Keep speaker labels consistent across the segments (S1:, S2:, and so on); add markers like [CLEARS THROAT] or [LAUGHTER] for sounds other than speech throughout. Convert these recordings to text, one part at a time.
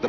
S1: The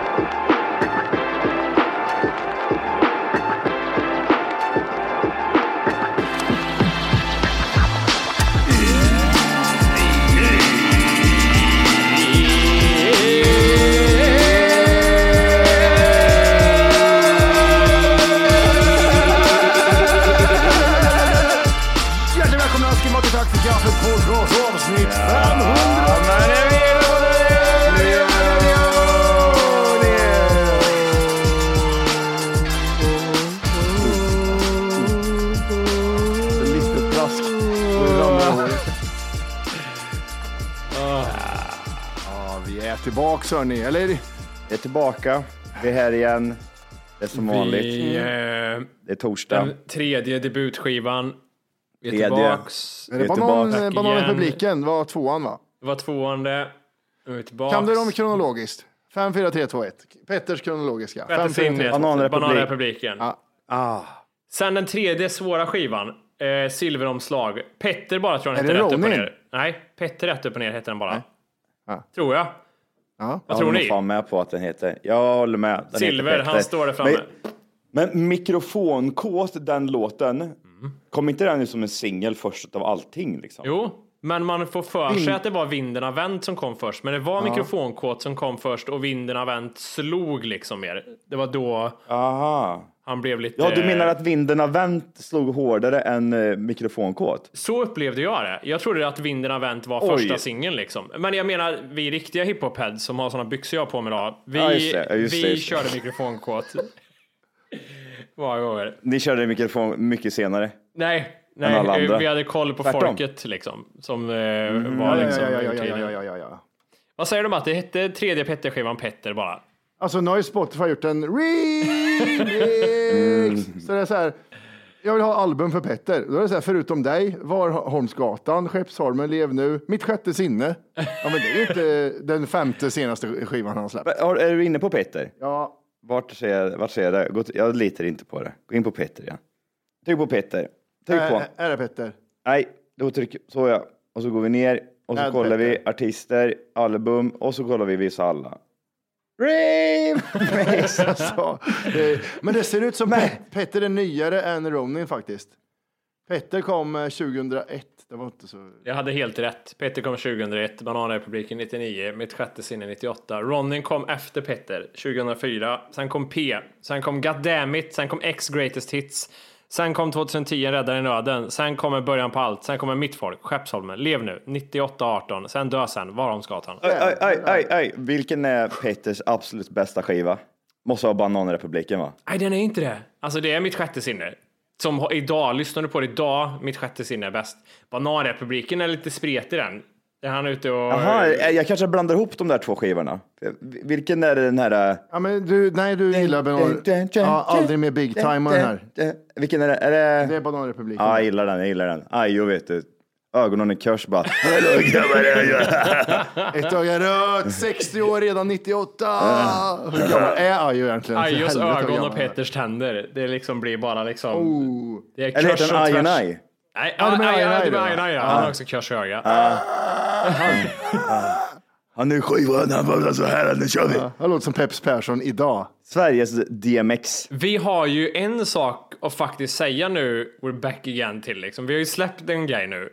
S2: Hjärtligt välkomna ska ni vara till Tack för kaffet på avsnitt 500. Lite plask. Ja, vi är tillbaks hörni, eller?
S3: Jag är tillbaka. Vi är här igen. Det är som vanligt.
S4: Vi, eh,
S3: Det är torsdag.
S4: den tredje debutskivan. Vi är
S3: Tredje.
S4: tillbaks.
S2: Är
S3: Vi
S2: det
S3: är
S2: banan,
S3: tillbaka
S2: banan i
S4: igen.
S2: publiken? Var tvåan va?
S4: Det var tvåan det. Nu är vi tillbaks.
S2: Kan du dem kronologiskt? 5, 4, 3, 2, 1. Petters kronologiska.
S4: Äter
S2: 5, 4, 3,
S4: sinnet.
S2: 2, 1.
S3: Bananrepublik.
S4: Bananrepubliken.
S2: Ah.
S4: Sen den tredje svåra skivan. Eh, silveromslag. Petter bara tror jag
S2: Är
S4: den
S2: det
S4: hette rätt upp och
S2: Ronin?
S4: ner. Nej, Petter rätt upp och ner hette den bara.
S2: Ja.
S4: Tror jag.
S2: Ja.
S4: Vad
S3: Jag
S4: tror
S3: håller
S4: ni?
S3: fan med på att den heter. Jag håller med. Den
S4: Silver,
S3: heter Petter.
S4: han står där framme.
S3: Men, men mikrofonkåt, den låten. Kom inte den ut som en singel först av allting? Liksom?
S4: Jo, men man får för sig att det var vinden har vänt som kom först. Men det var mikrofonkåt som kom först och vinden har vänt slog liksom mer. Det var då
S3: Aha.
S4: han blev lite...
S3: Ja, du menar att vinden har vänt slog hårdare än eh, mikrofonkåt?
S4: Så upplevde jag det. Jag trodde att vinden har vänt var
S3: Oj.
S4: första singeln liksom. Men jag menar, vi riktiga hiphop-heads som har sådana byxor jag har på mig idag. Vi,
S3: Ja, just det. Ja, just
S4: vi
S3: det, just det.
S4: körde mikrofonkåt. Många gånger.
S3: Ni körde mikrofon mycket senare.
S4: Nej,
S3: Än
S4: nej
S3: alla andra.
S4: vi hade koll på
S3: Tvärtom. Mm.
S4: folket liksom. Som eh, var
S2: Ja,
S4: liksom
S2: ja, ja, ja, ja,
S4: över tiden.
S2: ja, ja, ja, ja.
S4: Vad säger du om att det hette tredje Petter-skivan Petter bara?
S2: Alltså nu har ju Spotify gjort en remix. Så det är så här. Jag vill ha album för Petter. Då är det så här, förutom dig, Varholmsgatan, Skeppsholmen, Lev nu, Mitt sjätte sinne. Ja, men det är ju inte den femte senaste skivan han har släppt.
S3: Men, har- Är du inne på Petter?
S2: Ja,
S3: Vart ser jag, vart ser jag det? Gå till- Jag litar inte på det. Gå in på Petter igen. Tryck på Petter. Tryck på.
S2: är, är det Petter?
S3: Nej, då trycker så ja. Och så går vi ner och så
S2: Nej,
S3: kollar vi
S2: Petter.
S3: artister, album och så kollar vi vissa alla. Rave!
S2: Så, eh, men det ser ut som Pe- Petter är nyare än Ronin faktiskt. Petter kom eh, 2001. Det var inte så...
S4: Jag hade helt rätt. Petter kom 2001, Bananrepubliken 99, Mitt sjätte sinne 98. Ronin kom efter Petter 2004. Sen kom P. Sen kom God Damn It. Sen kom X Greatest Hits. Sen kom 2010, En Räddare i Nöden. Sen kommer Början på Allt. Sen kommer Mitt Folk, Skeppsholmen, Lev Nu, 98-18. Sen Dö Sen, Varholmsgatan.
S3: Aj, aj, aj, aj, aj. Vilken är Petters absolut bästa skiva? Måste vara Bananrepubliken va?
S4: Nej, den är inte det. Alltså, det är Mitt sjätte sinne. Som har- idag, lyssnar du på det idag, Mitt sjätte sinne är bäst. Bananrepubliken är lite spretig den. Där han är ute och...
S3: Jaha, eh, jag kanske blandar ihop de där två skivorna. Vilken är den här... eh,
S2: Ja, men du, nej, du gillar banan... Ja, aldrig mer Big Time och den här.
S3: Vilken är det? Är det...
S2: Det är Bananrepubliken.
S3: Ja, jag gillar den, jag gillar den. Aj, jo vet du. Ögonen i kors [LAUGHS] bara. Hallå grabbar!
S2: Ett öga rött, 60 år redan 98. Hur gammal är Ayo egentligen?
S4: Ajos
S2: Helvete, vad
S4: ögon
S2: gammal
S4: och
S2: han är.
S4: Petters tänder. Det liksom blir bara liksom...
S2: Oh.
S4: Det är
S3: Eller
S4: kors
S3: heter
S4: och
S3: den Aj
S4: tvärs.
S3: and I?
S4: Nej,
S2: Ja, det
S4: Aina,
S2: menar
S4: Aina,
S2: Aina,
S4: det var
S2: Aina.
S4: Aina, ja. Han har också körshöga.
S3: Han är skivan, han babblar så här, nu kör vi.
S2: Han låter som Peps Persson idag.
S3: Sveriges DMX.
S4: Vi har ju en sak att faktiskt säga nu, we're back again till liksom. Vi har ju släppt en grej nu.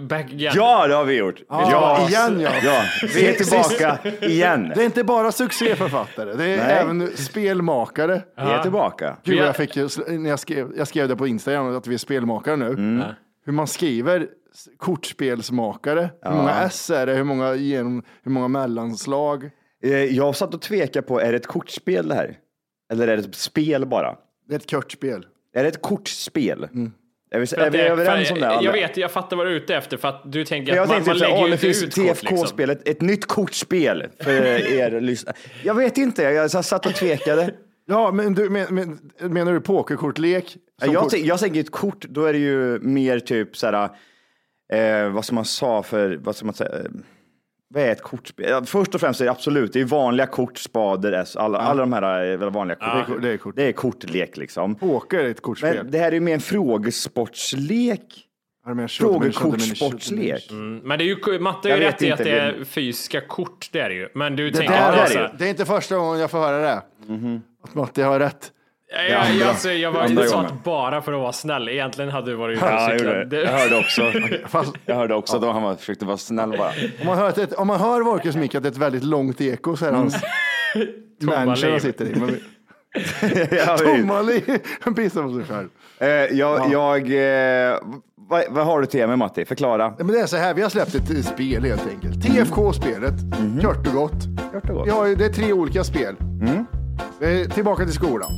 S4: Back again.
S3: Ja, det har vi gjort.
S2: Ja, igen, ja.
S3: ja. Vi är tillbaka igen.
S2: Det är inte bara succéförfattare, det är
S3: Nej.
S2: även spelmakare.
S3: Vi är tillbaka.
S2: Gud,
S4: Vi är-
S2: jag, fick, ju- när jag, skrev, jag skrev det på Instagram att vi är spelmakare nu.
S3: Mm.
S2: Hur man skriver s- kortspelsmakare. Hur många S är det? Hur många, genom, hur många mellanslag?
S3: Eh, Jag satt och tvekade på, är det ett kortspel det här? Eller är det ett spel bara?
S2: Det är ett kortspel.
S3: Är det ett kortspel? Är vi,
S4: För
S3: är
S4: att
S3: vi
S4: det-
S3: överens
S4: för-
S3: om det?
S4: Jag
S3: alla?
S4: vet, jag fattar vad du är ute efter för att du tänker
S3: Men
S4: att
S3: jag
S4: man,
S3: tänkte typ
S4: man
S3: så här,
S4: lägger
S3: åh,
S4: ju
S3: det
S4: inte
S3: finns
S4: ut kort liksom.
S3: TFK-spel, ett, ett nytt kortspel för er lyssnare. Jag vet inte, jag jag satt och tvekade.
S2: Ja, men, du, men, men menar du pokerkortlek? Som
S3: Jag,
S2: kort-
S3: tänk, jag tänker ett kort, då är det ju mer typ så här, eh, vad ska man sa för, vad ska man säga, eh, vad är ett kortspel? Ja, Först och främst är det absolut, det är vanliga kort, spader, S, alla, alla de här är väl vanliga kort.
S2: Det är- det är kort.
S3: Det är kortlek liksom.
S2: Poker är ett kortspel.
S3: Men det här är ju mer en frågesportslek.
S2: Har du med shot
S3: Frågor,
S2: diminish, shot diminish, shot diminish?
S3: kortsportslek.
S4: Men det är ju, Matte
S3: Jag
S4: är ju
S3: vet
S4: rätt i
S3: inte,
S4: att det är
S3: vi-
S4: fysiska kort, det är det ju. Men du
S2: Det,
S4: tänker
S2: där
S4: att
S2: är,
S4: så
S2: det.
S4: här-
S2: det är inte första gången jag får höra det.
S3: Mhm.
S2: Att Matti har rätt.
S4: Ja, jag, jag, alltså, jag var
S3: Andra
S4: jag sa
S3: gången.
S4: att bara för att vara snäll. Egentligen hade du varit ute
S3: Ja,
S4: och
S3: jag
S4: cyklat.
S3: gjorde det.
S4: Det-
S3: Jag hörde
S4: [LAUGHS]
S3: också.
S2: Fast
S3: Jag hörde också att han var- försökte vara snäll [LAUGHS] bara.
S2: om man hör, att ett, om man hör Wolkers mick att det är ett väldigt långt eko så är det [LAUGHS] hans mansion
S4: liv.
S2: han sitter i. Men,
S3: Jag vet.
S2: tomma liv. Han pissar på sig själv.
S3: Eh, jag, jag, eh, vad, vad har du till mig Matti? Förklara.
S2: Nej, Men det är så här, vi har släppt ett spel helt enkelt. TFK-spelet,
S3: Mhm.
S2: kort och gott.
S3: Kort och gott.
S2: Vi har, ju- det är tre olika spel.
S3: Mm.
S2: Eh, Tillbaka till skolan.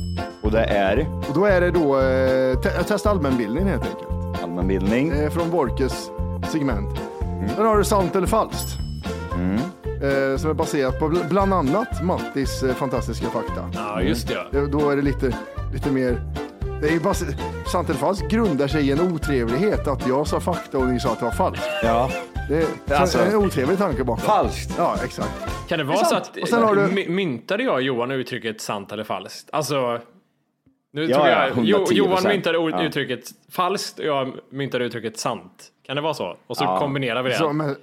S3: Och det är
S2: Och då är det då eh, te- testa allmänbildning helt enkelt.
S3: allmänbildning.
S2: eh, från Borkes segment.
S3: Mm.
S2: Där har du Sant eller falskt. Eh, som är baserat på bl- bland annat Mattis eh, fantastiska fakta.
S4: Ja, just det.
S2: Eh, Då är det lite, lite mer... Det är ju bas- sant eller falskt grundar sig i en otrevlighet att jag sa fakta och ni sa att det var falskt.
S3: Ja.
S2: Det är
S3: Alltså-
S2: det är en otrevlig tanke bakom.
S3: Falskt.
S2: Ja, exakt.
S4: Kan det vara så att
S2: Och sen har du-
S4: my- myntade jag och Johan uttrycket sant eller falskt? Alltså, nu
S3: Ja,
S4: tror
S3: ja,
S4: jag, jo,
S3: 110%.
S4: Johan myntade ord-
S3: Ja.
S4: uttrycket falskt och jag myntade uttrycket sant. Kan det vara så? Och så kombinerar vi det.
S2: Så, men,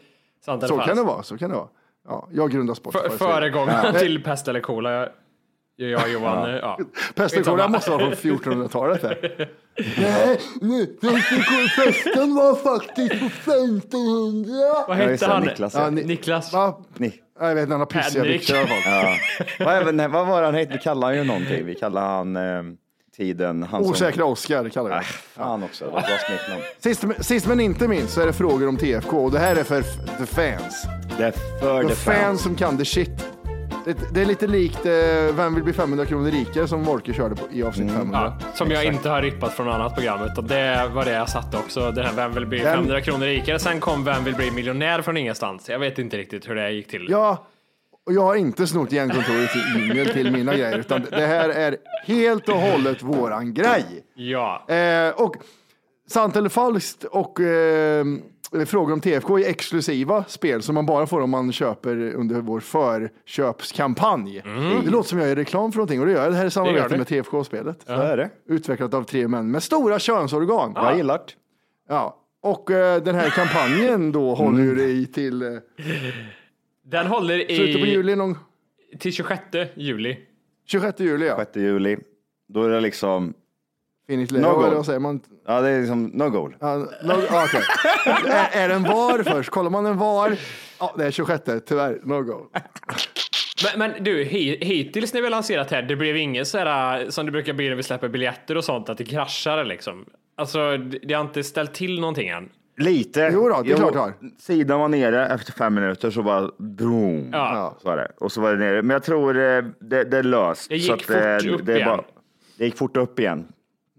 S4: sant eller
S2: så
S4: falskt.
S2: kan det vara. Så kan det vara. Ja, jag grundar Spotify.
S4: F- Föregångaren till pest eller kolera. Jag, jag och Johan. eh, Ja.
S2: Pestikola måste vara från 1400-talet. Här. Nej, nu, pestikolesten var faktiskt på 1500.
S4: Vad
S3: Ja,
S4: hette
S3: just det,
S4: han?
S3: Niklas.
S2: Ja, ni-
S4: Niklas.
S2: Va?
S3: Ni.
S2: Ja, Jag vet inte, han har pissiga
S4: Henrik.
S2: byxor i alla fall.
S3: Ja. vad, är, nej, vad var han hette? Vi kallar han ju någonting. Vi kallar han eh, tiden. Han som-
S2: Osäkra Oscar kallar vi
S3: Äh,
S2: det.
S3: fan också, det var ett bra smeknamn.
S2: Sist, men- sist men inte minst så är det frågor om TFK och det här är för f- the fans.
S3: Det är för
S2: The,
S3: det
S2: fans.
S3: fans.
S2: som kan the shit. Det, det är lite likt eh, Vem vill bli 500 kronor rikare som Wolke körde på, i
S3: Mm.
S2: avsnitt 500.
S4: Ja, som jag inte har rippat från annat program. Utan det var det jag satte också. Den här Vem vill bli
S2: Den-
S4: 500 kronor rikare? Sen kom Vem vill bli miljonär från ingenstans? Jag vet inte riktigt hur det gick till.
S2: Ja, och jag har inte snott gängkontorets jingel till mina grejer utan det här är helt och hållet våran grej.
S4: Ja.
S2: Eh, och sant eller falskt och eh, frågor om TFK är exklusiva spel som man bara får om man köper under vår förköpskampanj.
S3: Mm.
S2: Det låter som jag gör reklam för någonting och det gör jag. Det här är
S4: Det gör
S2: samarbete
S4: det.
S2: med TFK-spelet.
S3: Så är det.
S2: Utvecklat av tre män med stora könsorgan.
S3: Jag gillar det.
S2: Ja. Och eh, den här kampanjen då håller
S3: Mm.
S2: ju dig till eh,
S4: Den håller
S2: slutet på
S4: i
S2: juli, någon
S4: till 26 juli.
S2: 26 juli. Ja.
S3: 6 juli. Då är det liksom,
S2: Finit
S3: Någon.
S2: Leo, eller vad säger man?
S3: ja det är liksom no goal.
S2: Ja, no, ja,
S3: [LAUGHS]
S2: okej. är, är den var först? Kollar man en var? Ja, det är 26, tyvärr. No go.
S4: Men, men du, hi- hittills när vi har lanserat här, det blev inget så här äh, som det brukar bli när vi släpper biljetter och sånt, att det kraschar liksom. Alltså, det det har inte ställt till någonting än.
S3: Lite.
S2: Jo då, det är klart det har.
S3: Sidan var nere efter fem minuter så bara boom.
S4: Ja.
S3: Så var det. Och så var det nere. Men jag tror eh, det, det är löst.
S4: Det
S3: så
S4: gick
S3: eh,
S4: fort upp
S3: det är
S4: igen.
S3: det gick fort upp igen.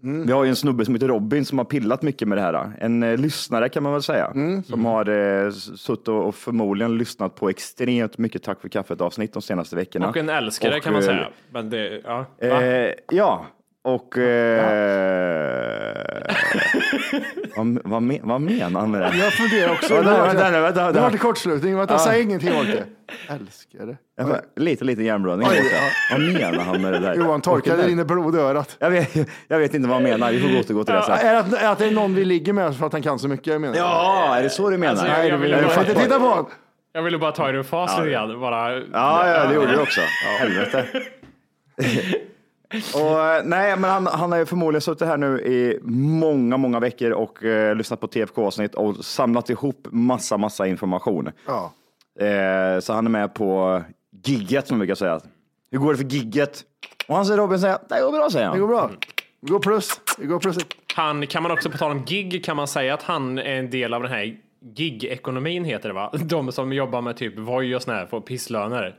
S2: Mm.
S3: Vi har ju en snubbe som heter Robin som har pillat mycket med det här. En eh, lyssnare kan man väl säga.
S2: Mm.
S4: Mm.
S3: Som har eh, s- suttit och och förmodligen lyssnat på extremt mycket Tack för kaffet avsnitt de senaste veckorna.
S4: Och en älskare
S3: Och,
S4: kan man
S3: eh,
S4: säga. Men det, ja. Va?
S3: Eh, ja, Och... Eh, vad, vad, men, vad menar han med det?
S2: Jag funderar också.
S3: Vänta,
S2: Nu vart
S3: vänta,
S2: jag-
S3: vänta, vänta.
S2: Nu vart det kortslutning. Vänta,
S3: Ja.
S2: säg ingenting Orke. Älskar det.
S3: Jag bara, Lite, lite hjärnblödning.
S2: Oj,
S3: också. Vad menar han med det där?
S2: Johan, torka
S3: Orkar
S2: det
S3: det?
S2: rinner blod i örat.
S3: Jag vet, jag vet inte vad han menar. Vi får återgå till det sen.
S2: Är det, att, är det att det är någon vi ligger med för att han kan så mycket? Jag menar.
S3: Ja, är det så du menar?
S4: Alltså, jag- jag vill
S2: Jag
S4: bara-
S2: får inte titta på honom.
S4: Jag ville bara ta er ur fas lite grann. Bara...
S3: Ja, ja, det gjorde du också. Helvete. och, eh, nej, men han, han har ju förmodligen suttit här nu i många, många veckor och eh, lyssnat på TFK-avsnitt och samlat ihop massa, massa information.
S2: Ja.
S3: Eh, så han är med på gigget som man brukar säga. Hur går det för gigget? Och han säger Robin säger, det går bra säger
S2: Det går
S3: han.
S2: bra. Det går plus. Det går plus.
S4: Han, kan man också på tal om gig, kan man säga att han är en del av den här gig-ekonomin heter det va? De som jobbar med typ Voi och såna här får pisslöner.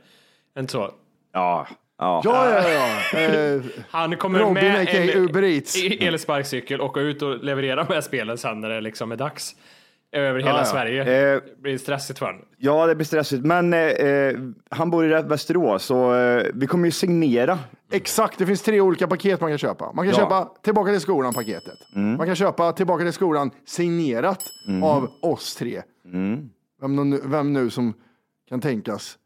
S4: Inte så.
S3: Ja, ja.
S2: Ja, ja, ja. Eh,
S4: Han kommer
S2: Robin,
S4: med
S2: aka Uber Eats.
S4: e- elsparkcykel och går ut och levererar med spelen sen när det liksom är dags. Över hela
S2: ja.
S4: Sverige.
S3: Eh,
S4: Det blir stressigt för honom.
S3: ja, det blir stressigt, men eh, eh, han bor i Rä- Västerås så eh, vi kommer ju signera
S2: Exakt, det finns tre olika paket man kan köpa. Man kan
S3: Ja. Mm.
S2: köpa Tillbaka till skolan-paketet. Man kan köpa Tillbaka till skolan signerat av oss tre.
S3: Mm.
S2: Vem, nu, vem nu som kan tänkas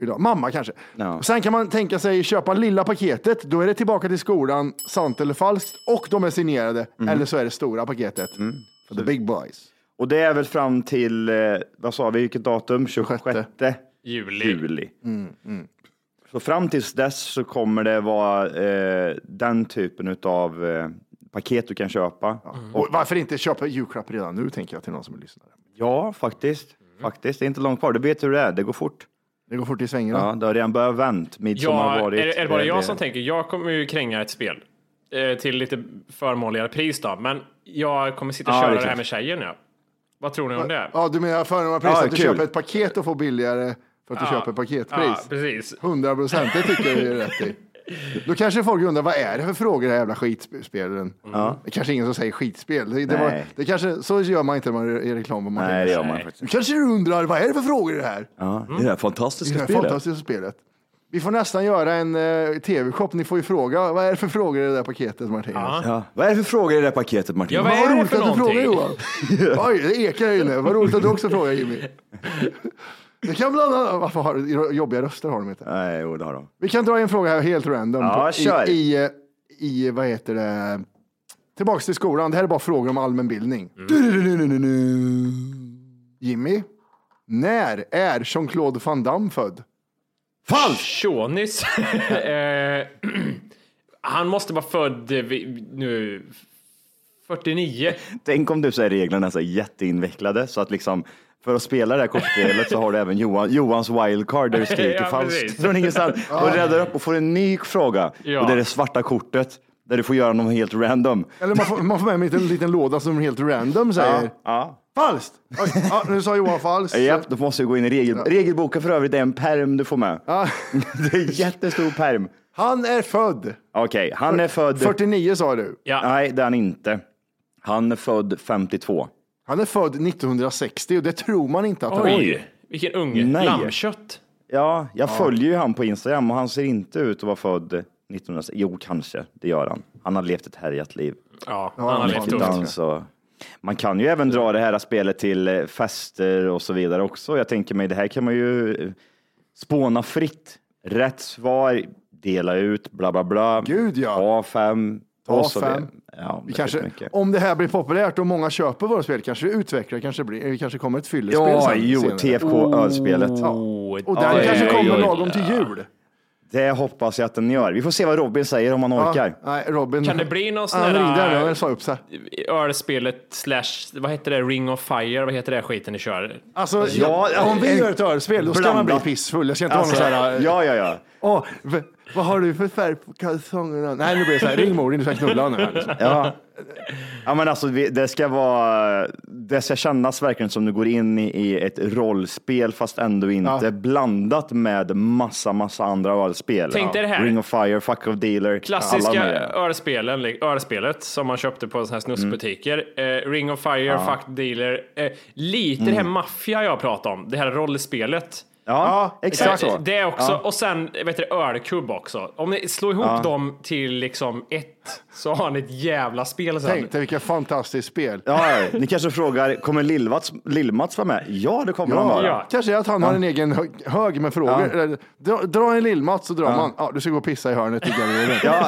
S2: vill ha. Mamma kanske.
S3: Mm. Ja.
S2: Sen kan man tänka sig köpa lilla paketet. Då är det Tillbaka till skolan, sant eller falskt. Och de är signerade.
S3: Mm.
S2: Eller så är det stora paketet. För the big boys.
S3: Och det är väl fram till, eh, vad sa vi, vilket datum? 26
S4: Juli.
S3: juli. mm. Så fram tills dess så kommer det vara eh, den typen av eh, paket du kan köpa.
S4: Mm.
S2: Och varför inte köpa julklapp redan nu, tänker jag till någon som lyssnar.
S3: Ja, faktiskt.
S4: Mm.
S3: Faktiskt, det är inte långt kvar. Du vet hur det är, det går fort.
S2: Det går fort i svängarna.
S3: Ja, det har redan börjat vänt. Midsommar har
S4: Ja, är,
S3: varit.
S4: det- är det bara
S3: eh,
S4: jag som tänker? Jag kommer ju kränga ett spel eh, till lite förmånligare pris då, men jag kommer sitta och
S3: Ja,
S4: köra
S3: det är
S4: det, här
S3: klart.
S4: med tjejen nu. Vad tror ni om det?
S2: Ja, du menar förmånspris,
S3: Ja,
S2: att du
S3: kul.
S2: köper ett paket och får billigare för att du köper
S4: Ja,
S2: paketpris.
S4: precis.
S2: 100 procent, det tycker jag är rätt
S3: [LAUGHS]
S2: i. Då kanske folk undrar, vad är det för frågor i det här jävla skitspelen? Det är kanske ingen som säger skitspel. Det, det var,
S3: Mm. Nej.
S2: det kanske, så gör man inte när man är i reklam. om Man
S3: Nej, det
S2: tänker.
S3: gör man faktiskt.
S2: Nu kanske du undrar, vad är det för frågor i det här?
S3: Ja, det här
S2: det
S3: fantastiska
S4: Mm.
S2: här
S3: spelet.
S2: fantastiska spelet. Vi får nästan göra en eh, tv-shop. Ni får ju fråga, vad är det för frågor i det där paketet, Martinus?
S3: Ja. Vad är det för frågor i det här paketet, Martin?
S4: Ja, vad
S2: Vad
S4: är det
S2: roligt
S4: för
S2: att du frågar
S4: någonting?
S2: Johan. Oj, det ekar här inne. Vad roligt att du också frågar Jimmy. Det kan bland annat, varför har du jobbiga röster har de inte.
S3: Nej, jo, det har de.
S2: Vi kan dra en fråga här helt random.
S3: Ja,
S2: på-
S3: kör.
S2: I, i, eh, i, vad heter det? Tillbaks till skolan. Det här är bara frågor om allmänbildning. Jimmy, när är Jean-Claude Van Damme född?
S4: Falskt! Tjonis. [LAUGHS] Eh, [CLEARS THROAT] Han måste vara född eh, vid- nu 49.
S3: Tänk om du säger reglerna så här jätteinvecklade så att liksom för att spela det här kortspelet så har du även Johan, Johans wildcard där du skriker
S4: [LAUGHS] Ja,
S3: falskt
S4: precis. [LAUGHS]
S3: från ingenstans och räddar upp och får en ny fråga.
S4: Ja.
S3: Och det är det svarta kortet där du får göra något helt random.
S2: Eller man får, man får med en liten, liten låda som helt random säger.
S3: Ja.
S2: Falskt! Oj, ja, nu sa Johan falskt.
S3: Japp, då måste du gå in i regel, regelboken för övrigt. Det är en perm du får med.
S2: Ja.
S3: [LAUGHS] Det är en jättestor perm.
S2: Han är född.
S3: Okej, han är född.
S2: 49 sa du.
S4: Ja,
S3: Nej, det är han inte. Han är född 52.
S2: Han är född 1960 och det tror man inte att han är.
S4: oj. Vilken unge.
S3: Nej.
S4: Lammkött.
S3: Ja, jag följer ju han på Instagram och han ser inte ut att vara född 1960. Jo, kanske, det gör han. Han har levt ett härjat liv.
S4: Ja, han har
S2: han
S4: levt
S2: har
S4: tufft.
S2: inte-
S3: Dans och... Man kan ju även dra det här spelet till eh, fester och så vidare också. Jag tänker mig, det här kan man ju eh, spåna fritt. Rätt svar, dela ut, bla bla bla.
S2: Gud, ja.
S3: A5. och
S2: A5.
S3: så vidare. Ja,
S2: Vi
S3: det
S2: kanske,
S3: finns mycket.
S2: om det här blir populärt och många köper våra spel kanske vi utvecklar, kanske blir, vi kanske kommer ett fyllespel
S3: Ja,
S2: sen,
S3: jo,
S2: senare.
S3: TFK-ölspelet.
S4: Oh,
S2: Och den
S4: oj,
S2: kanske
S4: oj,
S2: kommer
S4: oj.
S2: lagom till jul.
S3: Det hoppas jag att den gör. Vi får se vad Robin säger om han orkar.
S2: Ja, Ah, nej, Robin.
S4: Kan det bli någon sån
S2: Han
S4: där- eh,
S2: ringde här nu, han sa upp sig.
S4: ölspelet slash, vad heter det, Ring of Fire, vad heter det skiten ni kör?
S2: Alltså,
S3: Ja,
S2: om vi
S3: en-
S2: gör ett ölspel, då ska man bli
S3: blandat.
S2: pissfull. Jag ska inte
S3: Alltså,
S2: ha någon så här... eh,
S3: ja, ja, ja.
S2: Åh, v- vad har du för färg på kalsongerna? Nej, nu blir det så här. Ring mor, du ska knulla nu. här,
S3: [LAUGHS]
S2: Liksom.
S3: Ja. ja, men alltså vi- det ska vara. Det ska kännas verkligen som du går in i- i ett rollspel fast ändå inte
S2: Ja.
S3: blandat med massa, massa andra rollspel.
S4: Tänk dig det här.
S3: Ring of Fire, Fuck of Dealer.
S4: Klassiska
S3: alla de här.
S4: ölspelen, li- ölspelet som man köpte på såna här snuskbutiker.
S3: Mm.
S4: Eh, Ring of Fire, Fuck Dealer. Eh, lite det här maffia jag pratade om, det här rollspelet.
S3: Ja, exakt
S4: Eh,
S3: så.
S4: Det är också, och sen vet du, ölkubb också. Om ni slår ihop dem till liksom ett så har ni ett jävla spel sen.
S2: Tänk dig vilka fantastiskt spel.
S3: Ja, ja. ni kanske frågar, kommer Lill-Mats Lill-Mats vara med? Ja, det kommer han vara.
S4: Ja.
S2: Kanske att han har en egen hö- hög med frågor. Eller, dra, dra en lillmatt så drar man. Ja, du ska gå och pissa i hörnet i garderoben. [LAUGHS]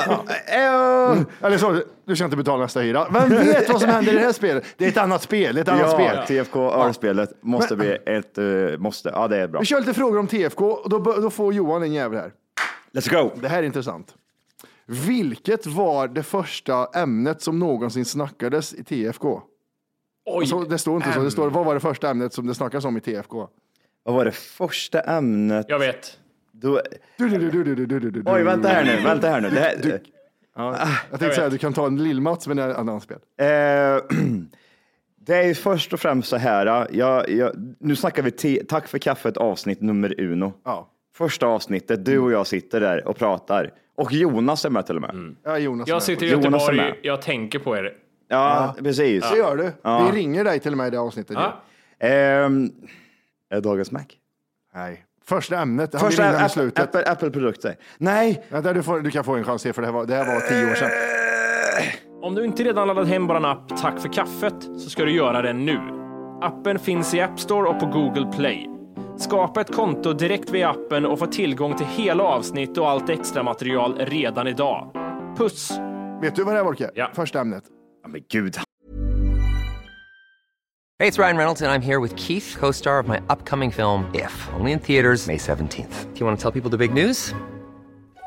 S3: Ja. Eh,
S2: Eller så, du ska inte betala nästa hyra. Vem vet vad som händer i det här spelet? Det är ett annat spel. Det är ett annat spel.
S3: Ja, TFK Örnspelet måste
S2: Men-
S3: bli ett eh, måste. Ja, det är bra.
S2: Vi kör lite frågor om TFK och då, bör- då får Johan en jävel här.
S3: Let's go!
S2: Det här är intressant. Vilket var det första ämnet som någonsin snackades i TFK?
S4: Oj,
S2: Så Alltså, det står inte så, det står vad var det första ämnet som det snackas om i TFK?
S3: Vad var det första ämnet?
S4: jag vet.
S3: Då...
S2: Du, du, du, du, du, du, du, du, du.
S3: Oj, vänta här
S2: Mm.
S3: nu, vänta här nu. Det här...
S2: Jag tänkte säga att du kan ta en lill-Mats med ett annat spel.
S3: Eh, [CLEARS THROAT] det är ju först och främst så här. Jag, jag, nu snackar vi te, Tack för kaffet avsnitt nummer uno.
S2: Ja.
S3: Första avsnittet, du och jag sitter där och pratar. Och Jonas är med till och med.
S2: Ja, Jonas.
S4: Jag sitter i
S3: Jonas är
S4: Göteborg,
S3: med.
S4: jag tänker på er.
S3: Ja, precis.
S2: Det gör du.
S3: Ja.
S2: Vi ringer dig till och med i det avsnittet.
S4: Ja.
S3: Ehm, är det dagens Mac?
S2: Nej. Första ämnet, han
S3: Första
S2: Första vill i
S3: Apple-
S2: slutet.
S3: Apple- Apple-produkter. Nej!
S2: Vänta, du, får, du kan få en chans till för det här var, det här var tio år sedan.
S3: Eh.
S4: Om du inte redan laddat hem bara en app Tack för kaffet så ska du göra det nu. Appen finns i App Store och på Google Play. Skapa ett konto direkt via appen och få tillgång till hela avsnitt och allt extra material redan idag. Puss!
S2: Vet du vad det här var, Orke?
S4: Ja.
S2: Första ämnet.
S3: Ja, men gud.
S5: Hey, it's Ryan Reynolds, and I'm here with Keith, co star of my upcoming film, If, only in theaters, May 17th. Do you want to tell people the big news?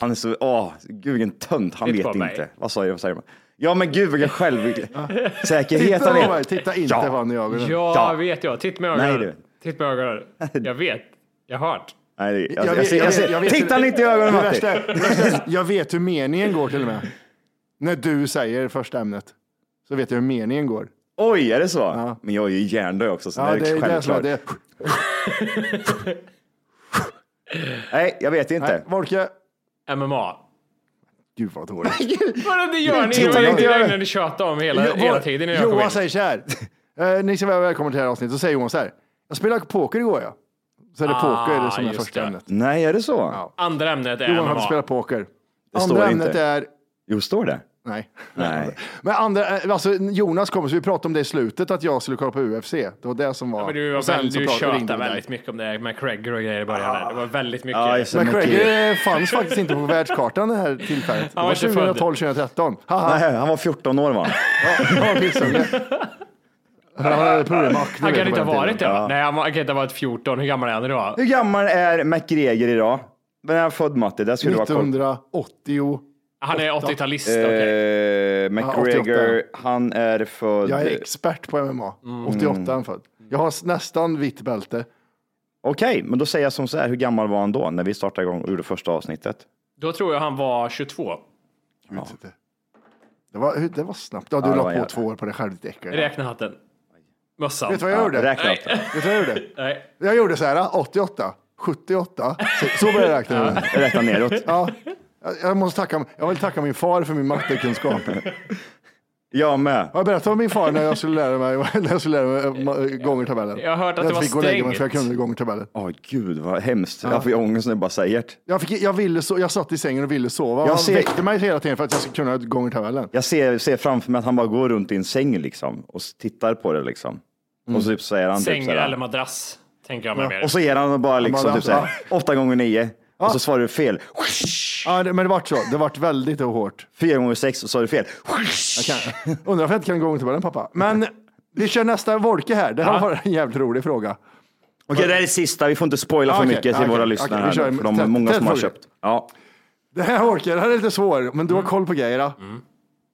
S3: Han är så, åh, gud vilken tönt, han
S4: Titta
S3: vet
S4: på mig.
S3: inte. Vad sa jag, vad säger man? Ja men gud vilken självsäkerhet
S2: Titta,
S3: han
S2: på mig,
S3: är.
S2: titta inte
S3: Ja.
S2: på honom i ögonen.
S4: Ja, vet jag. Titta med
S3: Nej,
S4: ögonen.
S3: du.
S4: Titta med ögonen.
S2: [LAUGHS]
S4: Jag vet. Jag har hört.
S3: Nej, det-
S2: Jag
S3: jag, jag,
S2: vet-
S3: ser-
S2: jag
S3: jag,
S2: vet-
S3: ser-
S2: jag vet-
S3: titta lite i
S2: Det
S3: ögonen
S2: värsta
S3: Matti.
S2: är- det värsta är- Jag vet hur meningen går till och med. När du säger första ämnet så vet jag hur meningen går.
S3: Oj, är det så? Men jag är ju hjärndöd också, så
S2: Ja,
S3: det är
S2: det som är
S3: självklart.
S2: det.
S3: Nej, jag vet inte.
S2: Nej, Volke.
S4: MMA.
S2: [LAUGHS] Gud vad dåligt.
S4: Vadå, det gör ni?
S2: Titta,
S4: Det var
S2: jag-
S4: det enda ni tjatade om hela, hela tiden när jag kom in.
S2: Johan säger så här. Eh, ni ska vara välkomna till det här avsnittet. Då säger Johan så här. Jag spelade poker igår ja. Så är det poker det som är
S4: just
S2: första
S4: det.
S2: ämnet.
S3: Nej, är det så?
S4: Andra ämnet är
S2: Johan hade
S4: MMA.
S2: spelat poker.
S3: står
S2: Andra
S3: det
S2: ämnet
S3: inte.
S2: är...
S3: Jo, står det?
S2: Nej.
S3: Nej.
S2: Men andra, eh, alltså Jonas kommer, så vi pratade om det i slutet, att jag skulle kolla på UFC. Det var det som var...
S4: Men du, var
S2: och sen
S4: väl,
S2: så
S4: du
S2: pratade- ringde
S4: tjatade
S2: vi
S4: väldigt mycket om det här med Craig och grejer i början. Där. Det var väldigt mycket.
S3: Ja, jag ser
S2: Men
S3: mycket-
S2: Craig eh, fanns faktiskt inte på världskartan det här tillfället. Det
S4: var
S2: var
S4: inte född.
S2: 2012, 2013. Haha,
S3: Nej, han var 14 år
S2: [LAUGHS]
S3: va?
S2: han var pissunge. Han hade problem med akne,
S4: Han
S2: vet
S4: kan
S2: du,
S4: inte
S2: på
S4: ha
S2: den
S4: varit det.
S2: tiden.
S4: va? Nej, han kan inte ha varit 14. Hur gammal är han idag?
S3: Hur gammal är McGregor idag? När är han född Matti? Där skulle du ha koll.
S2: 1980.
S4: Han är 80-talist.
S3: Eh,
S4: okej.
S3: McGregor, han är född...
S2: Jag är
S3: Okej,
S2: expert på MMA. 88 är han född. Jag har s- nästan vitt bälte.
S3: men då säger jag som så här, hur gammal var han då när vi startade igång och gjorde första avsnittet?
S4: Då tror jag han var 22.
S2: Jag vet inte. Det var, hur- det var snabbt. Ja, du
S3: det
S2: la
S3: var
S2: på
S3: jävla-
S2: två år på dig själv, ditt äckel. Vet
S4: Räkna hatten. Mössan.
S2: du vad jag gjorde? Vet
S3: Räkna upp det.
S2: du vad jag gjorde?
S4: Nej.
S2: Jag gjorde så här, 88, 78. Så, så började jag räkna. med det.
S3: Räkna neråt.
S2: Ja. Jag- Jag, måste tacka, jag vill tacka min far för min mattekunskap.
S3: Jag med.
S2: Har jag berättat om min far när jag skulle lära mig, [LAUGHS] när jag skulle lära mig ma- gångertabellen?
S4: Jag har hört att
S2: jag
S4: det var
S2: fick gå och lägga mig för jag
S4: stängt.
S2: kunde gångertabellen.
S3: Åh gud vad hemskt. Jag får ju ångest när jag bara säger det.
S2: Jag, fick, jag, ville so- jag satt i sängen och ville sova.
S3: Jag
S2: Han
S3: ser-
S2: väckte mig hela tiden för att jag skulle kunna gångertabellen.
S3: Jag ser, ser framför mig att han bara går runt i en säng liksom och s- tittar på det liksom. Och
S2: Mm.
S3: så typ säger han typ
S4: Säng
S3: så här,
S4: eller madrass. Tänker jag mig mer.
S3: Och så ger han bara liksom
S2: bara,
S3: typ så här, åtta gånger nio. Och så svarar du fel.
S2: Ja, det, men det vart så. Det vart väldigt hårt.
S3: Fyra gånger sex och så är det fel.
S2: [LAUGHS] Kan- Undrar varför jag inte kan gångertabellen pappa. Men Vi kör nästa Wolke här. Det här var en jävligt rolig fråga.
S3: Okej, det här är sista. Vi får inte spoila för
S2: Ah, Okej,
S3: mycket till
S2: okej,
S3: våra
S2: okej,
S3: lyssnare.
S2: vi
S3: här,
S2: kör en-
S3: för de är
S2: tätt-
S3: många
S2: tätt
S3: som har
S2: fråga.
S3: köpt. Ja.
S2: Det här Wolke, det här är lite svår, men
S4: Mm.
S2: du har koll på grejerna.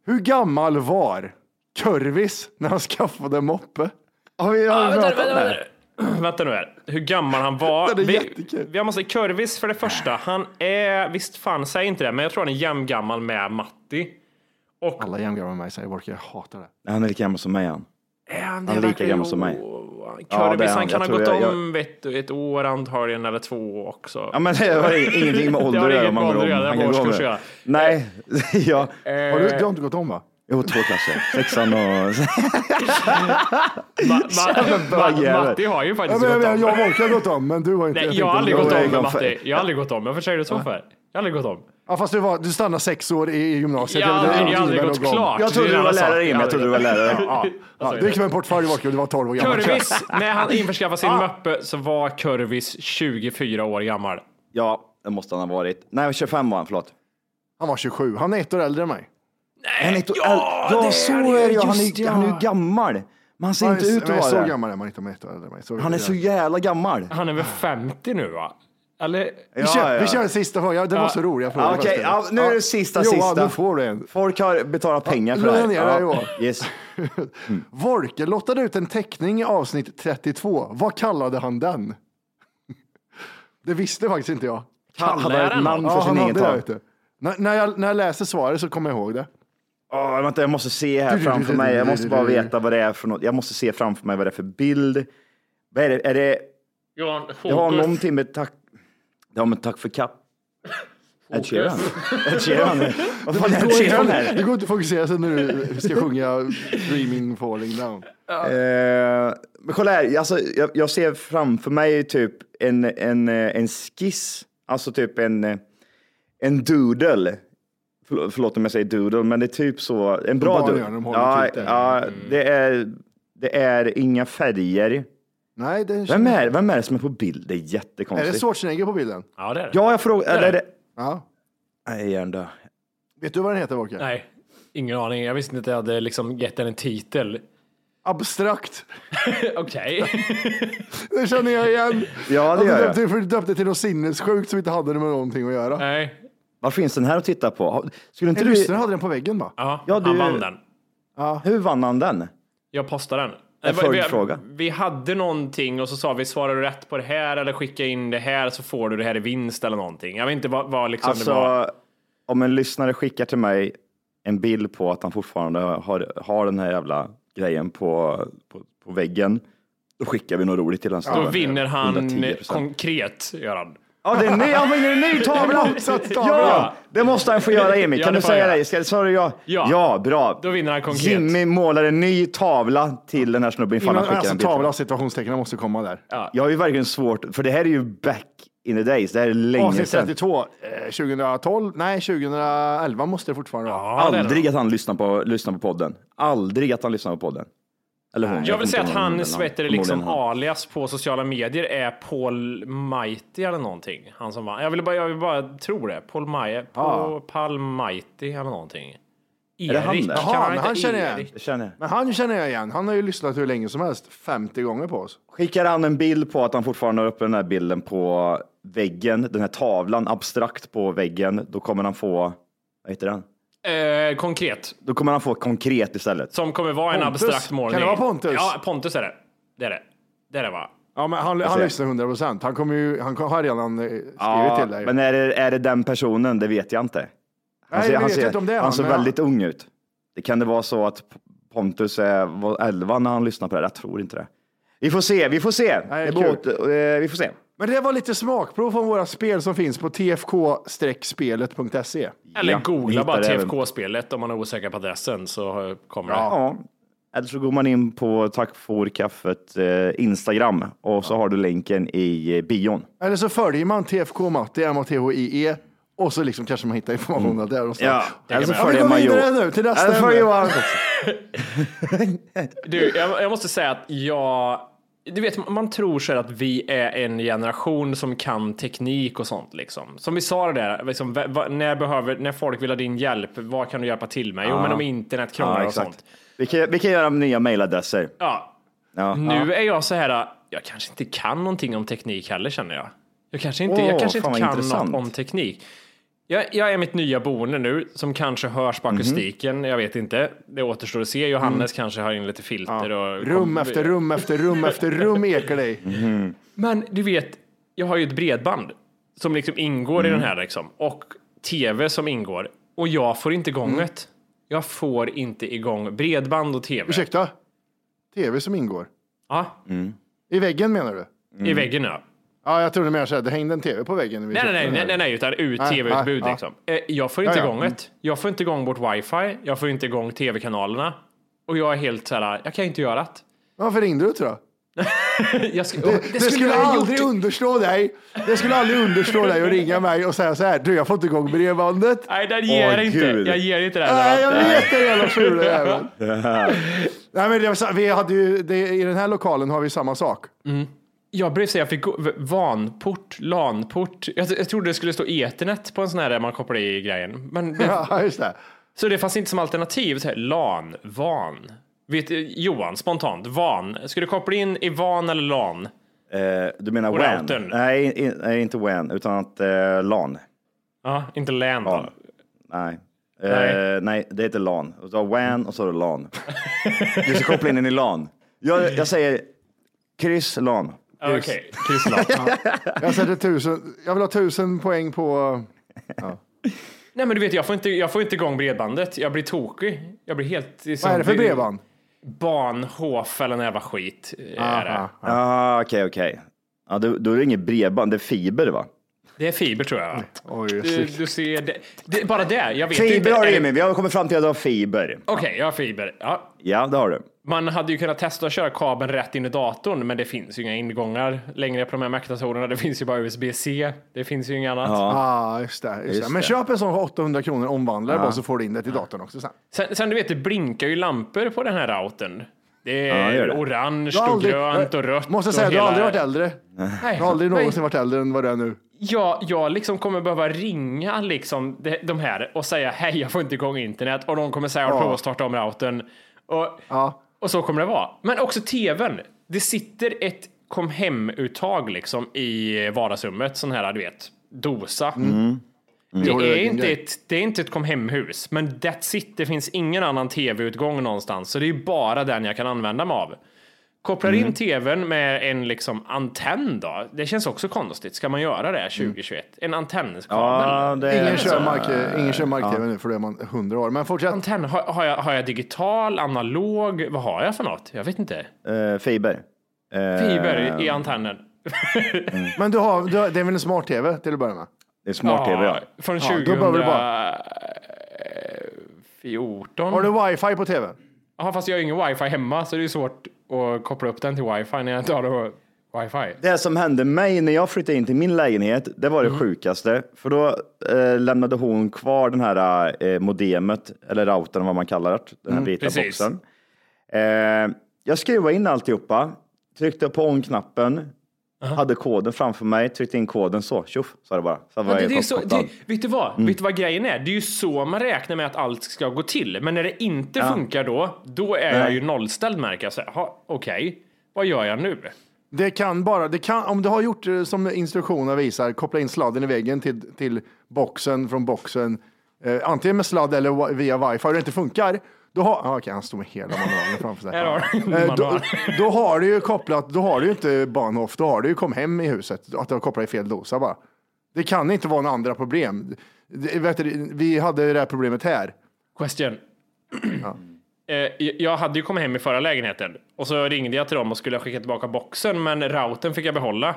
S2: Hur gammal var Kurvis när han skaffade moppe? Har vi, har vi
S4: Vänta,
S2: pratat om det
S4: vänta, vänta,
S2: här?
S4: vänta. [CLEARS THROAT] vänta nu här. Hur gammal han var.
S2: Det är
S4: vi,
S2: jättekul.
S4: vi måste, Kurvis för det första, han är, visst fan säg inte det, men jag tror han är jämngammal med Matti.
S2: Alla jämngamla med mig säger Wolke, jag hatar det.
S3: Han är lika gammal som mig han.
S4: Är han
S3: Han är lika gammal som mig.
S4: Kurvis,
S3: Ja, det är
S4: han
S3: han.
S4: kan
S3: Jag
S4: ha gått
S3: tror jag- jag-
S4: om vet du, ett år antagligen, eller två också.
S3: Ja, men det har
S2: [LAUGHS]
S3: i- ingenting med
S4: Det har
S3: ålder att göra.
S4: inget
S3: om
S4: med
S3: han går
S4: ålder
S3: om.
S4: att göra,
S3: Han
S4: det har
S3: kan gå om
S4: med
S3: det.
S4: årskurs
S3: Nej,
S2: Eh.
S3: [LAUGHS] ja.
S2: Har du, du har inte gått om va?
S3: Jo, två klasser.
S2: [LAUGHS]
S3: Sexan och...
S4: Ma,
S3: [LAUGHS]
S4: ma, ma,
S3: bögjävel.
S4: Matti har ju
S2: Ja,
S4: faktiskt
S2: men,
S4: gått
S2: men,
S4: om.
S2: jag och Wolke har gått om, men du har inte.
S4: Nej,
S2: tänkte
S4: jag har aldrig
S2: du
S4: gått
S2: var-
S4: om med
S3: jag-
S4: Matti. Jag har aldrig gått om. Varför säger du så för? Jag har aldrig gått om.
S2: Ja, fast du, var, du stannade sex år i i gymnasiet.
S4: Jag har
S2: Det var- det
S4: aldrig- jag har aldrig
S2: innebär
S4: gått
S2: någon gång.
S4: klart.
S3: Jag trodde
S4: Det är
S3: du
S4: en
S3: var
S4: annan sak.
S3: lärare, Jim. Jag trodde du var lärare.
S2: Ja, ja, du gick med en portfölj Wolke och du var 12 år gammal.
S4: Kurvis, Alltså, när han införskaffade sin möppe så var Kurvis 24 år gammal.
S3: Ja, det måste han ha varit. Nej, 25 var han, förlåt.
S2: Han var 27, han är ett år äldre än mig.
S3: Han är ett, ja, ja, så är det ju. Han är ju han är ju gammal. Men han ser
S2: Han
S3: inte
S2: är,
S3: ut
S2: men
S3: att
S2: Så
S3: vara det.
S2: gammal är man inte om ett år äldre än mig. Så
S3: Han är så jävla gammal.
S4: Han är väl 50 nu va? Eller?
S2: Vi kör,
S3: Ja, ja.
S2: vi kör en sista fråga. Det var så roliga frågor.
S3: Ja, Okej, ja, nu är det sista,
S2: Johan,
S3: sista.
S2: nu får du en.
S3: Folk har betalat pengar för det
S2: lugna
S3: här.
S2: ner dig, Johan.
S3: Yes. Mm.
S2: Wolke lottade ut en teckning i avsnitt 32. Vad kallade han den? Det visste faktiskt inte jag.
S3: Han hade ett namn för
S2: Ja,
S3: sin
S2: han
S3: egen
S2: hade det.
S3: tal.
S2: vet du. När, när, jag, när jag läser svaret så kommer jag ihåg det.
S3: Oh, vänta, jag måste se här
S2: Du, du, du,
S3: framför
S2: du,
S3: mig.
S2: du,
S3: Jag
S2: du,
S3: måste
S2: du,
S3: bara
S2: du.
S3: veta vad det är för något. Jag måste se framför mig vad det är för bild. Vad är det? Är det
S4: Johan,
S3: det har någonting med tack... Det har med tack för kapp... Ed Sheeran. [LAUGHS] Ed Sheeran. Vad fan är Ed Sheeran här?
S2: Det går inte att fokusera sig när du ska sjunga Dreaming falling down.
S3: Eh, men kolla här, alltså, jag, jag ser framför mig typ en, en, eh, en skiss, alltså typ en, eh, en doodle. Förlåt, förlåt om jag säger doodle, men det är typ så. En bra
S2: barn
S3: doodle.
S2: gör när de håller typ Mm.
S3: ja,
S2: tutten.
S3: ja, det, är, det är inga färger.
S2: Nej, det
S3: Vem är, vem är det som är på bild? Det är jättekonstigt.
S2: Är det Schwarzenegger på bilden?
S4: Ja det är det.
S3: Ja, jag frågar. Eller är det...
S2: Ja.
S3: Nej, jag är ändå.
S2: Vet du vad den heter, Wolke?
S4: Nej, ingen aning. Jag visste inte att jag hade liksom gett den en titel.
S2: Abstrakt.
S4: Okej.
S2: Det känner jag igen.
S3: Ja, det
S2: du
S3: gör jag.
S2: döpte, för du döpte till något sinnessjukt som inte hade med någonting att göra.
S4: Nej.
S3: Vad finns den här att titta på? Har- Skulle inte
S2: En
S3: du...
S2: lyssnare hade den på väggen va?
S4: Ja,
S3: Ja,
S4: han
S3: du-
S4: vann den.
S3: Hur vann han den?
S4: Jag postade den.
S3: En
S4: Vi- vi-
S3: följdfråga.
S4: Vi hade någonting och så sa vi svarar du rätt på det här eller skicka in det här så får du det här i vinst eller någonting. Jag vet inte vad, vad liksom det var.
S3: Alltså, om en lyssnare skickar till mig en bild på att han fortfarande har, har den här jävla grejen på, på, på väggen, då skickar vi något roligt till honom.
S4: Då vinner han
S3: 110%.
S4: konkret, gör han.
S3: Ja, det är ny,
S4: [LAUGHS]
S3: han vinner en ny tavla!
S2: Motsatstavla.
S3: Ja, det måste han få göra Emil.
S4: Ja,
S3: Kan
S4: det
S3: du
S4: får
S3: säga
S4: jag.
S3: det? Ska, sa du ja?
S4: Ja.
S3: bra.
S4: Då vinner han konkret.
S3: Jimmy målar en ny tavla till den här snubben ifall
S2: Innan,
S3: han skickar
S2: alltså
S3: en bild.
S2: tavla situationstecknen måste komma där.
S3: Jag har ju verkligen svårt, för det här är ju back in the days. Det här är länge
S2: Avsnitt
S3: sedan.
S2: 32, eh, 2012, nej 2011 måste det fortfarande vara.
S4: Ja, det är det.
S3: Aldrig att han lyssnar på, lyssnar på podden. Aldrig att han lyssnar på podden. Eller hon.
S4: Jag vill
S3: vet
S4: säga att
S3: inte om hon-
S4: hans
S3: eller
S4: vad heter det, liksom
S3: Förmodligen han.
S4: alias på sociala medier är Paul Mighty eller någonting. Han som vann. Jag vill bara, jag vill bara tro det. Paul
S3: Ah.
S4: Maj, Paul, Paul Mighty eller någonting. Erik.
S3: det han där?
S4: kan
S2: Jaha,
S4: han
S2: men
S4: heta
S2: han känner jag.
S4: Erik?
S3: Det känner jag.
S2: Men han känner jag igen, han har ju lyssnat hur länge som helst, 50 gånger på oss.
S3: Skickar han en bild på att han fortfarande har uppe den här bilden på väggen, den här tavlan abstrakt på väggen, då kommer han få, vad heter den?
S4: Eh, konkret.
S3: Då kommer han få konkret istället.
S4: Som kommer vara en
S2: Pontus.
S4: abstrakt målning.
S2: Kan det vara Pontus?
S4: Ja, Pontus är det. Det är det. Det är det va?
S2: Ja men han, han
S3: ser.
S2: lyssnar 100 procent, han, kommer ju- han har redan eh, skrivit till dig.
S3: men är det, är det den personen? Det vet jag inte. Han
S2: Nej,
S3: ser,
S2: vi
S3: han
S2: vet
S3: ser,
S2: inte om det är
S3: han
S2: han,
S3: ser
S2: men han-
S3: väldigt ung ut. Det kan det vara så att P- Pontus är, var 11 när han lyssnar på det? Jag tror inte det. Vi får se, vi får se.
S2: Nej,
S3: det
S2: kul.
S3: går åt, eh, vi får se.
S2: Men det var lite smakprov från våra spel som finns på tfk-spelet.se.
S4: Eller
S3: Ja, vi
S4: googla
S3: hittar
S4: bara
S3: det även.
S4: TFK-spelet om man är osäker på adressen så eh, kommer det.
S3: Ja. Eller så går man in på Tack för kaffet eh, Instagram och så har du länken i eh, bion.
S2: Eller så följer man TFK Matti, M-A-T-H-I-E, E, och så liksom kanske man hittar informationen där någonstans.
S3: Eller så
S4: Ja, vi
S3: följer
S2: går
S3: man
S2: vidare
S3: Jo-
S2: nu till nästa
S3: Eller följer
S2: ämne.
S3: man-
S4: Du, jag, jag måste säga att jag... Du vet, man tror så här att vi är en generation som kan teknik och sånt liksom. Som vi sa det där, liksom, va- va- när, behöver, när folk vill ha din hjälp, vad kan du hjälpa till med? Jo, men om internet krånglar
S3: Ja,
S4: och
S3: exakt.
S4: sånt.
S3: Vi kan, vi kan göra nya mailadresser.
S4: Ja.
S3: Ja.
S4: Nu är jag så här, jag kanske inte kan någonting om teknik heller känner jag. Jag kanske inte,
S3: Åh,
S4: jag kanske
S3: fan
S4: inte
S3: vad
S4: kan
S3: intressant.
S4: något om teknik. Jag, jag är mitt nya boende nu som kanske hörs på
S3: Mhm.
S4: akustiken. Jag vet inte. Det återstår att se. Johannes kanske har in lite filter och
S2: Rum efter rum efter rum efter rum ekar dig.
S4: Men du vet, jag har ju ett bredband som liksom ingår i den
S2: Mm.
S4: här liksom och tv som ingår och jag får inte
S2: Mm.
S4: igång det. Jag får inte igång bredband och tv.
S2: Ursäkta? Tv som ingår.
S4: Ja,
S2: I väggen menar du?
S4: i väggen ja.
S2: Ja, jag trodde du menade så här, det hängde en tv på väggen. när vi
S4: Nej, nej,
S2: köpte
S4: nej,
S2: den här.
S4: nej, nej, nej, utan ut
S2: Nej,
S4: tv-utbud
S2: nej,
S4: liksom. Eh, Jag får inte
S2: Ja, ja,
S4: igång
S2: mm.
S4: det. Jag får inte igång vårt wifi. Jag får inte igång tv-kanalerna. Och jag är helt så här, jag kan inte göra det.
S2: Varför ringde du då?
S4: Jag sk-
S2: Det, det, skulle, aldrig underslå dig. Det skulle aldrig underslå dig att ringa mig och säga så här, du jag får inte igång bredbandet.
S4: Nej, den ger
S3: Åh,
S4: inte.
S3: Gud.
S4: Jag ger inte den.
S2: Nej, jag vet det jävla fula [LAUGHS] jäveln. Nej, men det var, så- vi hade ju, det, i den här lokalen har vi samma sak.
S4: Jag blev så jag fick gå- v- vanport, lanport. Jag, jag trodde det skulle stå ethernet på en sån här där man kopplar i grejen. Men det,
S2: Ja, just det.
S4: Så det fanns inte som alternativ. Så här, lan, van. Vet, du, Johan, spontant, van. Ska du koppla in i van eller lan?
S3: Eh, du menar
S4: Och
S3: WAN?
S4: routern.
S3: Nej, in, nej, inte WAN, utan att eh, LAN.
S4: Ja, inte län. då.
S3: LAN. Nej. Eh,
S4: Nej.
S3: nej. det heter LAN. Och så har WAN och så har du LAN.
S4: [LAUGHS]
S3: du ska koppla in den i LAN. Jag, jag säger kryss LAN.
S4: Ja, Okej,
S2: [LAUGHS]
S4: kryss lan. Ja.
S2: Jag sätter tusen, jag vill ha tusen poäng på...
S4: Nej, men du vet, jag får, inte, jag får inte igång bredbandet. Jag blir tokig. Jag blir helt... Liksom,
S2: Vad är det för bredband?
S4: Bahnhof eller nån jävla skit. eh, Är det.
S2: Aha.
S3: Ah, okej, okej. Ja, då, då är det inget bredband, det är fiber va?
S4: det är fiber tror
S2: Mm.
S4: jag.
S2: Oj,
S4: Du,
S2: shit.
S4: du ser, det, det, bara det. Jag vet inte.
S3: Fiber har
S4: är
S3: du
S4: det-
S3: Jimmy, vi har kommit fram till att du har fiber.
S4: Okej, jag har fiber. Ja,
S3: Ja, det har du.
S4: Man hade ju kunnat testa att köra kabeln rätt in i datorn, men det finns ju inga ingångar längre på de här Mac-datorerna. Det finns ju bara USB-C. Det finns ju inget annat.
S2: Ah, just det, just det. Men köp en sån för 800 kronor, omvandla det bara så får du in det till datorn också sen.
S4: Sen, sen du vet, det blinkar ju lampor på den här routern. Det är
S3: det gör det.
S4: orange
S2: Du har
S4: och grönt och rött.
S2: Måste säga,
S4: och
S2: du har aldrig varit
S4: hela-
S2: äldre.
S4: Nej,
S2: Du har aldrig
S4: nej.
S2: någonsin varit äldre än vad du är nu.
S4: Jag, jag liksom kommer behöva ringa liksom de, de här och säga hej, jag får inte igång internet och de kommer säga att prova att starta om routern. Och,
S2: Ja.
S4: och så kommer det vara. Men också tvn. Det sitter ett kom hem-uttag liksom i vardagsrummet, sån här du vet, dosa.
S2: Mm.
S4: Det,
S2: Jo, det är
S4: är
S2: din
S4: inte
S2: grej.
S4: ett, det är inte ett kom hem-hus, men that's it. Det finns ingen annan tv-utgång någonstans, så det är bara den jag kan använda mig av. Kopplar
S2: Mm.
S4: in tvn med en liksom antenn då? Det känns också konstigt. Ska man göra
S2: Mm.
S4: det 2021? En antennkabel?
S3: Ja, det är
S2: Ingen kör mark- ingen kör mark-tv nu för då är man 100 år. Men fortsätt.
S4: Antenn, har, har, jag, har jag digital, analog? Vad har jag för något? Jag vet inte.
S3: eh, fiber. Eh,
S4: Fiber
S2: [LAUGHS]
S4: i antennen.
S2: Men du har, du har, det är väl en smart-tv till att börja med?
S3: Det är smart-tv, ja.
S4: Från
S2: Ja, då behöver du
S4: 2014.
S2: Har du wifi på tvn?
S4: Ja, fast jag har ju ingen wifi hemma så det är svårt att koppla upp den till wifi när jag inte har något wifi.
S3: Det som hände mig när jag flyttade in till min lägenhet, det var det
S4: Mm.
S3: sjukaste. För då eh, lämnade hon kvar den här eh, modemet, eller routern vad man kallar det, den här vita
S4: Mm, precis.
S3: boxen. Eh, jag skruvade in alltihopa, tryckte på on-knappen, hade koden framför mig, tryckte in koden så, tjoff, sa det bara. Så var
S4: Men det,
S3: jag
S4: Alltså, det är så,
S3: uppkopplad.
S4: det, vet, du vad? vet du vad grejen är? Det är ju så man räknar med att allt ska gå till. Men när det inte funkar då, då är jag ju nollställd märker jag. Så här, "Ha, Okej, vad gör jag nu?
S2: Det kan bara, det kan, om du har gjort eh, som instruktionerna visar, koppla in sladden i väggen till, till boxen från boxen, eh, antingen med sladd eller wi- via wifi, och det inte funkar, då har, ah, okej han står med hela manualen framför sig.
S4: Här har [LAUGHS] du
S2: Eh, då,
S4: manual.
S2: då har du ju kopplat, då har du ju inte Bahnhof, då har du ju kom hem i huset, att du har kopplat i fel dosa bara. Det kan inte vara några andra problem. Det, vet du, vi hade det här problemet här.
S4: Question. [CLEARS THROAT] Eh, Jag hade ju kommit hem i förra lägenheten och så ringde jag till dem och skulle skicka tillbaka boxen, men routern fick jag behålla.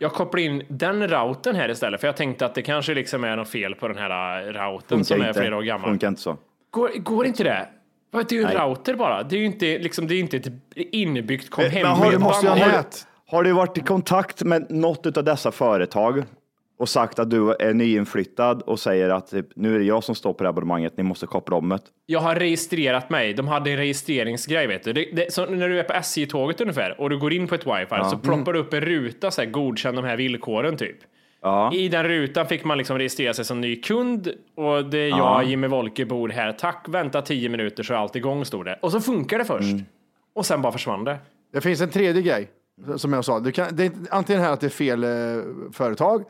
S4: Jag kopplade in den routern här istället, för jag tänkte att det kanske liksom är något fel på den här routern som är
S3: inte.
S4: flera år gammal.
S3: Funkar inte så.
S4: Går, går inte det? Vad, Det är ju en router bara. Det är ju inte, liksom, det är inte ett inbyggt kom hem.
S3: har, du,
S4: bredband.
S3: måste jag,
S2: Har
S3: har,
S2: du-
S3: du, har du varit i kontakt med något av dessa företag och sagt att du är nyinflyttad och säger att typ, nu är det jag som står på det här abonnemanget, ni måste koppla om det?
S4: Jag har registrerat mig. De hade en registreringsgrej, vet du. Det, det, så när du är på SJ-tåget ungefär och du går in på ett wifi så ploppar det upp en ruta så här, godkänn de här villkoren typ. I den rutan fick man liksom registrera sig som ny kund och det är jag, Jimmy Wolke, bor här. Tack, vänta 10 minuter så är allt igång, stod det. Och så funkar det först. Och sen bara försvann det.
S2: Det finns en tredje grej som jag sa. Du kan, det är inte- antingen här att det är fel eh, företag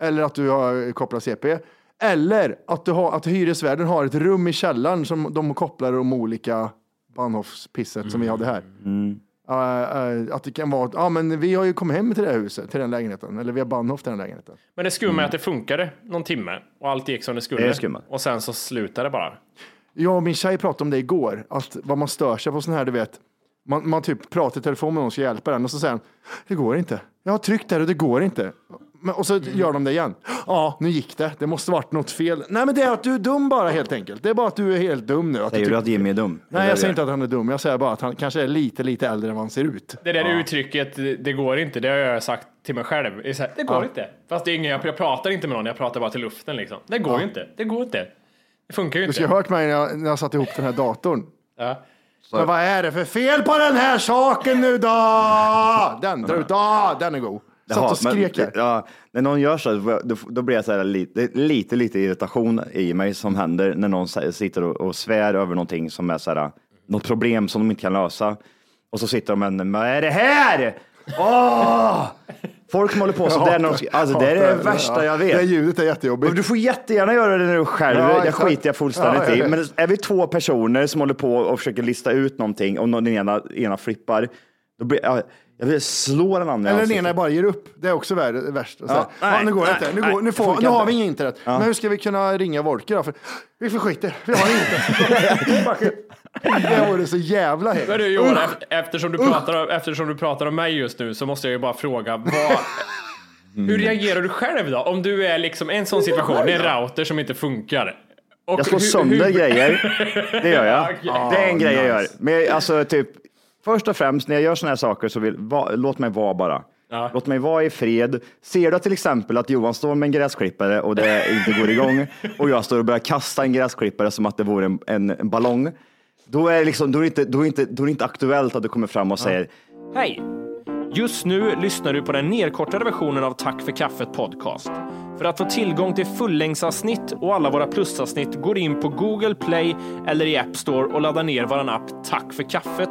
S2: eller att du har kopplat CP. Eller att, du har, att hyresvärden har ett rum i källaren som de kopplar de olika Bahnhofspisset som vi hade här. Eh, eh, att det kan vara att ah, men vi har ju kommit hem till det här huset, till den lägenheten. Eller vi har Bahnhof till den lägenheten.
S4: Men det skumma är att det funkade någon timme och allt gick som det skulle.
S3: Mm. Det är skumma.
S4: och sen så slutade det bara.
S2: Jag och min tjej pratade om det igår, att vad man stör sig på sån här, du vet. Man, man typ pratar i telefon med någon som hjälper den och så säger han, det går inte. Jag har tryckt där och det går inte. Men, och så
S3: Mm.
S2: gör de det igen. Ja, nu gick det. Det måste varit något fel. Nej, men det är att du är dum bara helt enkelt. Det är bara att du är helt dum nu. Att
S3: Säger
S2: du
S3: du
S2: tyck-
S3: att Jimmy är dum?
S2: Nej, jag säger inte att han är dum. Jag säger bara att han kanske är lite, lite äldre än vad han ser ut.
S4: Det där uttrycket, det- det går inte, det har jag sagt till mig själv. Det, är så här, det går inte. Fast det är ingen, jag, jag pratar inte med någon, jag pratar bara till luften liksom. Det går ju inte, det går inte. Det funkar
S2: Du
S4: ju inte.
S2: ska ha hört mig när jag, när jag satte ihop den här datorn.
S4: Ja.
S2: Men vad är det för fel på den här saken nu då? Den, dra ut, ah, den är god. Satt och
S3: Jaha, men-
S2: skrek här.
S3: ja, när någon gör så, här, då, då blir jag så här lite, lite, lite irritation i mig som händer när någon så här sitter och, och svär över någonting som är så här, något problem som de inte kan lösa. Och så sitter de och men vad är det här? Åh! Folk som håller på så där när de, alltså det är det värsta jag
S2: Det
S3: vet.
S2: ljudet är jättejobbigt.
S3: Och Du får jättegärna göra det när du själv,
S2: Ja,
S3: det
S2: exakt.
S3: skiter jag fullständigt
S2: Ja, ja, ja.
S3: i. Men är vi två personer som håller på och försöker lista ut någonting och någon- den ena, ena flippar, då blir jag, jag vill slå den andra
S2: Eller
S3: i
S2: den
S3: ansiktet.
S2: ena bara ger upp. Det är också värre, värst. Och så här,
S3: Ja,
S2: Ja,
S3: nej,
S2: nu går det
S3: nej,
S2: inte. Nu,
S3: nej,
S2: går, nu,
S3: det
S2: får,
S3: funkar
S2: nu har
S3: inte.
S2: vi inget internet. Men hur ska vi kunna ringa Wolke då? För, vi förskiter. Vi har
S3: [LAUGHS]
S2: inte. det vore så jävla
S4: Men
S2: hemskt.
S4: du Johan, eft- eftersom du, pratar, om- eftersom du pratar om mig just nu så måste jag ju bara fråga, vad,
S3: Mm.
S4: hur reagerar du själv då? Om du är liksom en sån situation, det är en router som inte funkar. Och
S3: Jag slår
S4: hur-
S3: sönder
S4: hur-
S3: grejer.
S4: [LAUGHS]
S3: Det gör jag.
S4: Okej.
S3: Det är en grej jag
S2: nice.
S3: gör. Men jag, alltså, typ, först och främst när jag gör sådana här saker så vill, va, låt mig vara bara.
S4: Ja.
S3: Låt mig vara i fred. Ser du till exempel att Johan står med en gräsklippare och det inte
S4: [LAUGHS]
S3: går igång och jag står och börjar kasta en gräsklippare som att det vore en, en, en ballong. Då är, det liksom, då, är det inte, då, är det inte, då är det inte aktuellt att du kommer fram och säger
S4: Hej! Just nu lyssnar du på den nedkortade versionen av Tack för kaffet podcast. För att få tillgång till fullängdsavsnitt och alla våra plusavsnitt går in på Google Play eller i App Store och laddar ner vår app Tack för kaffet.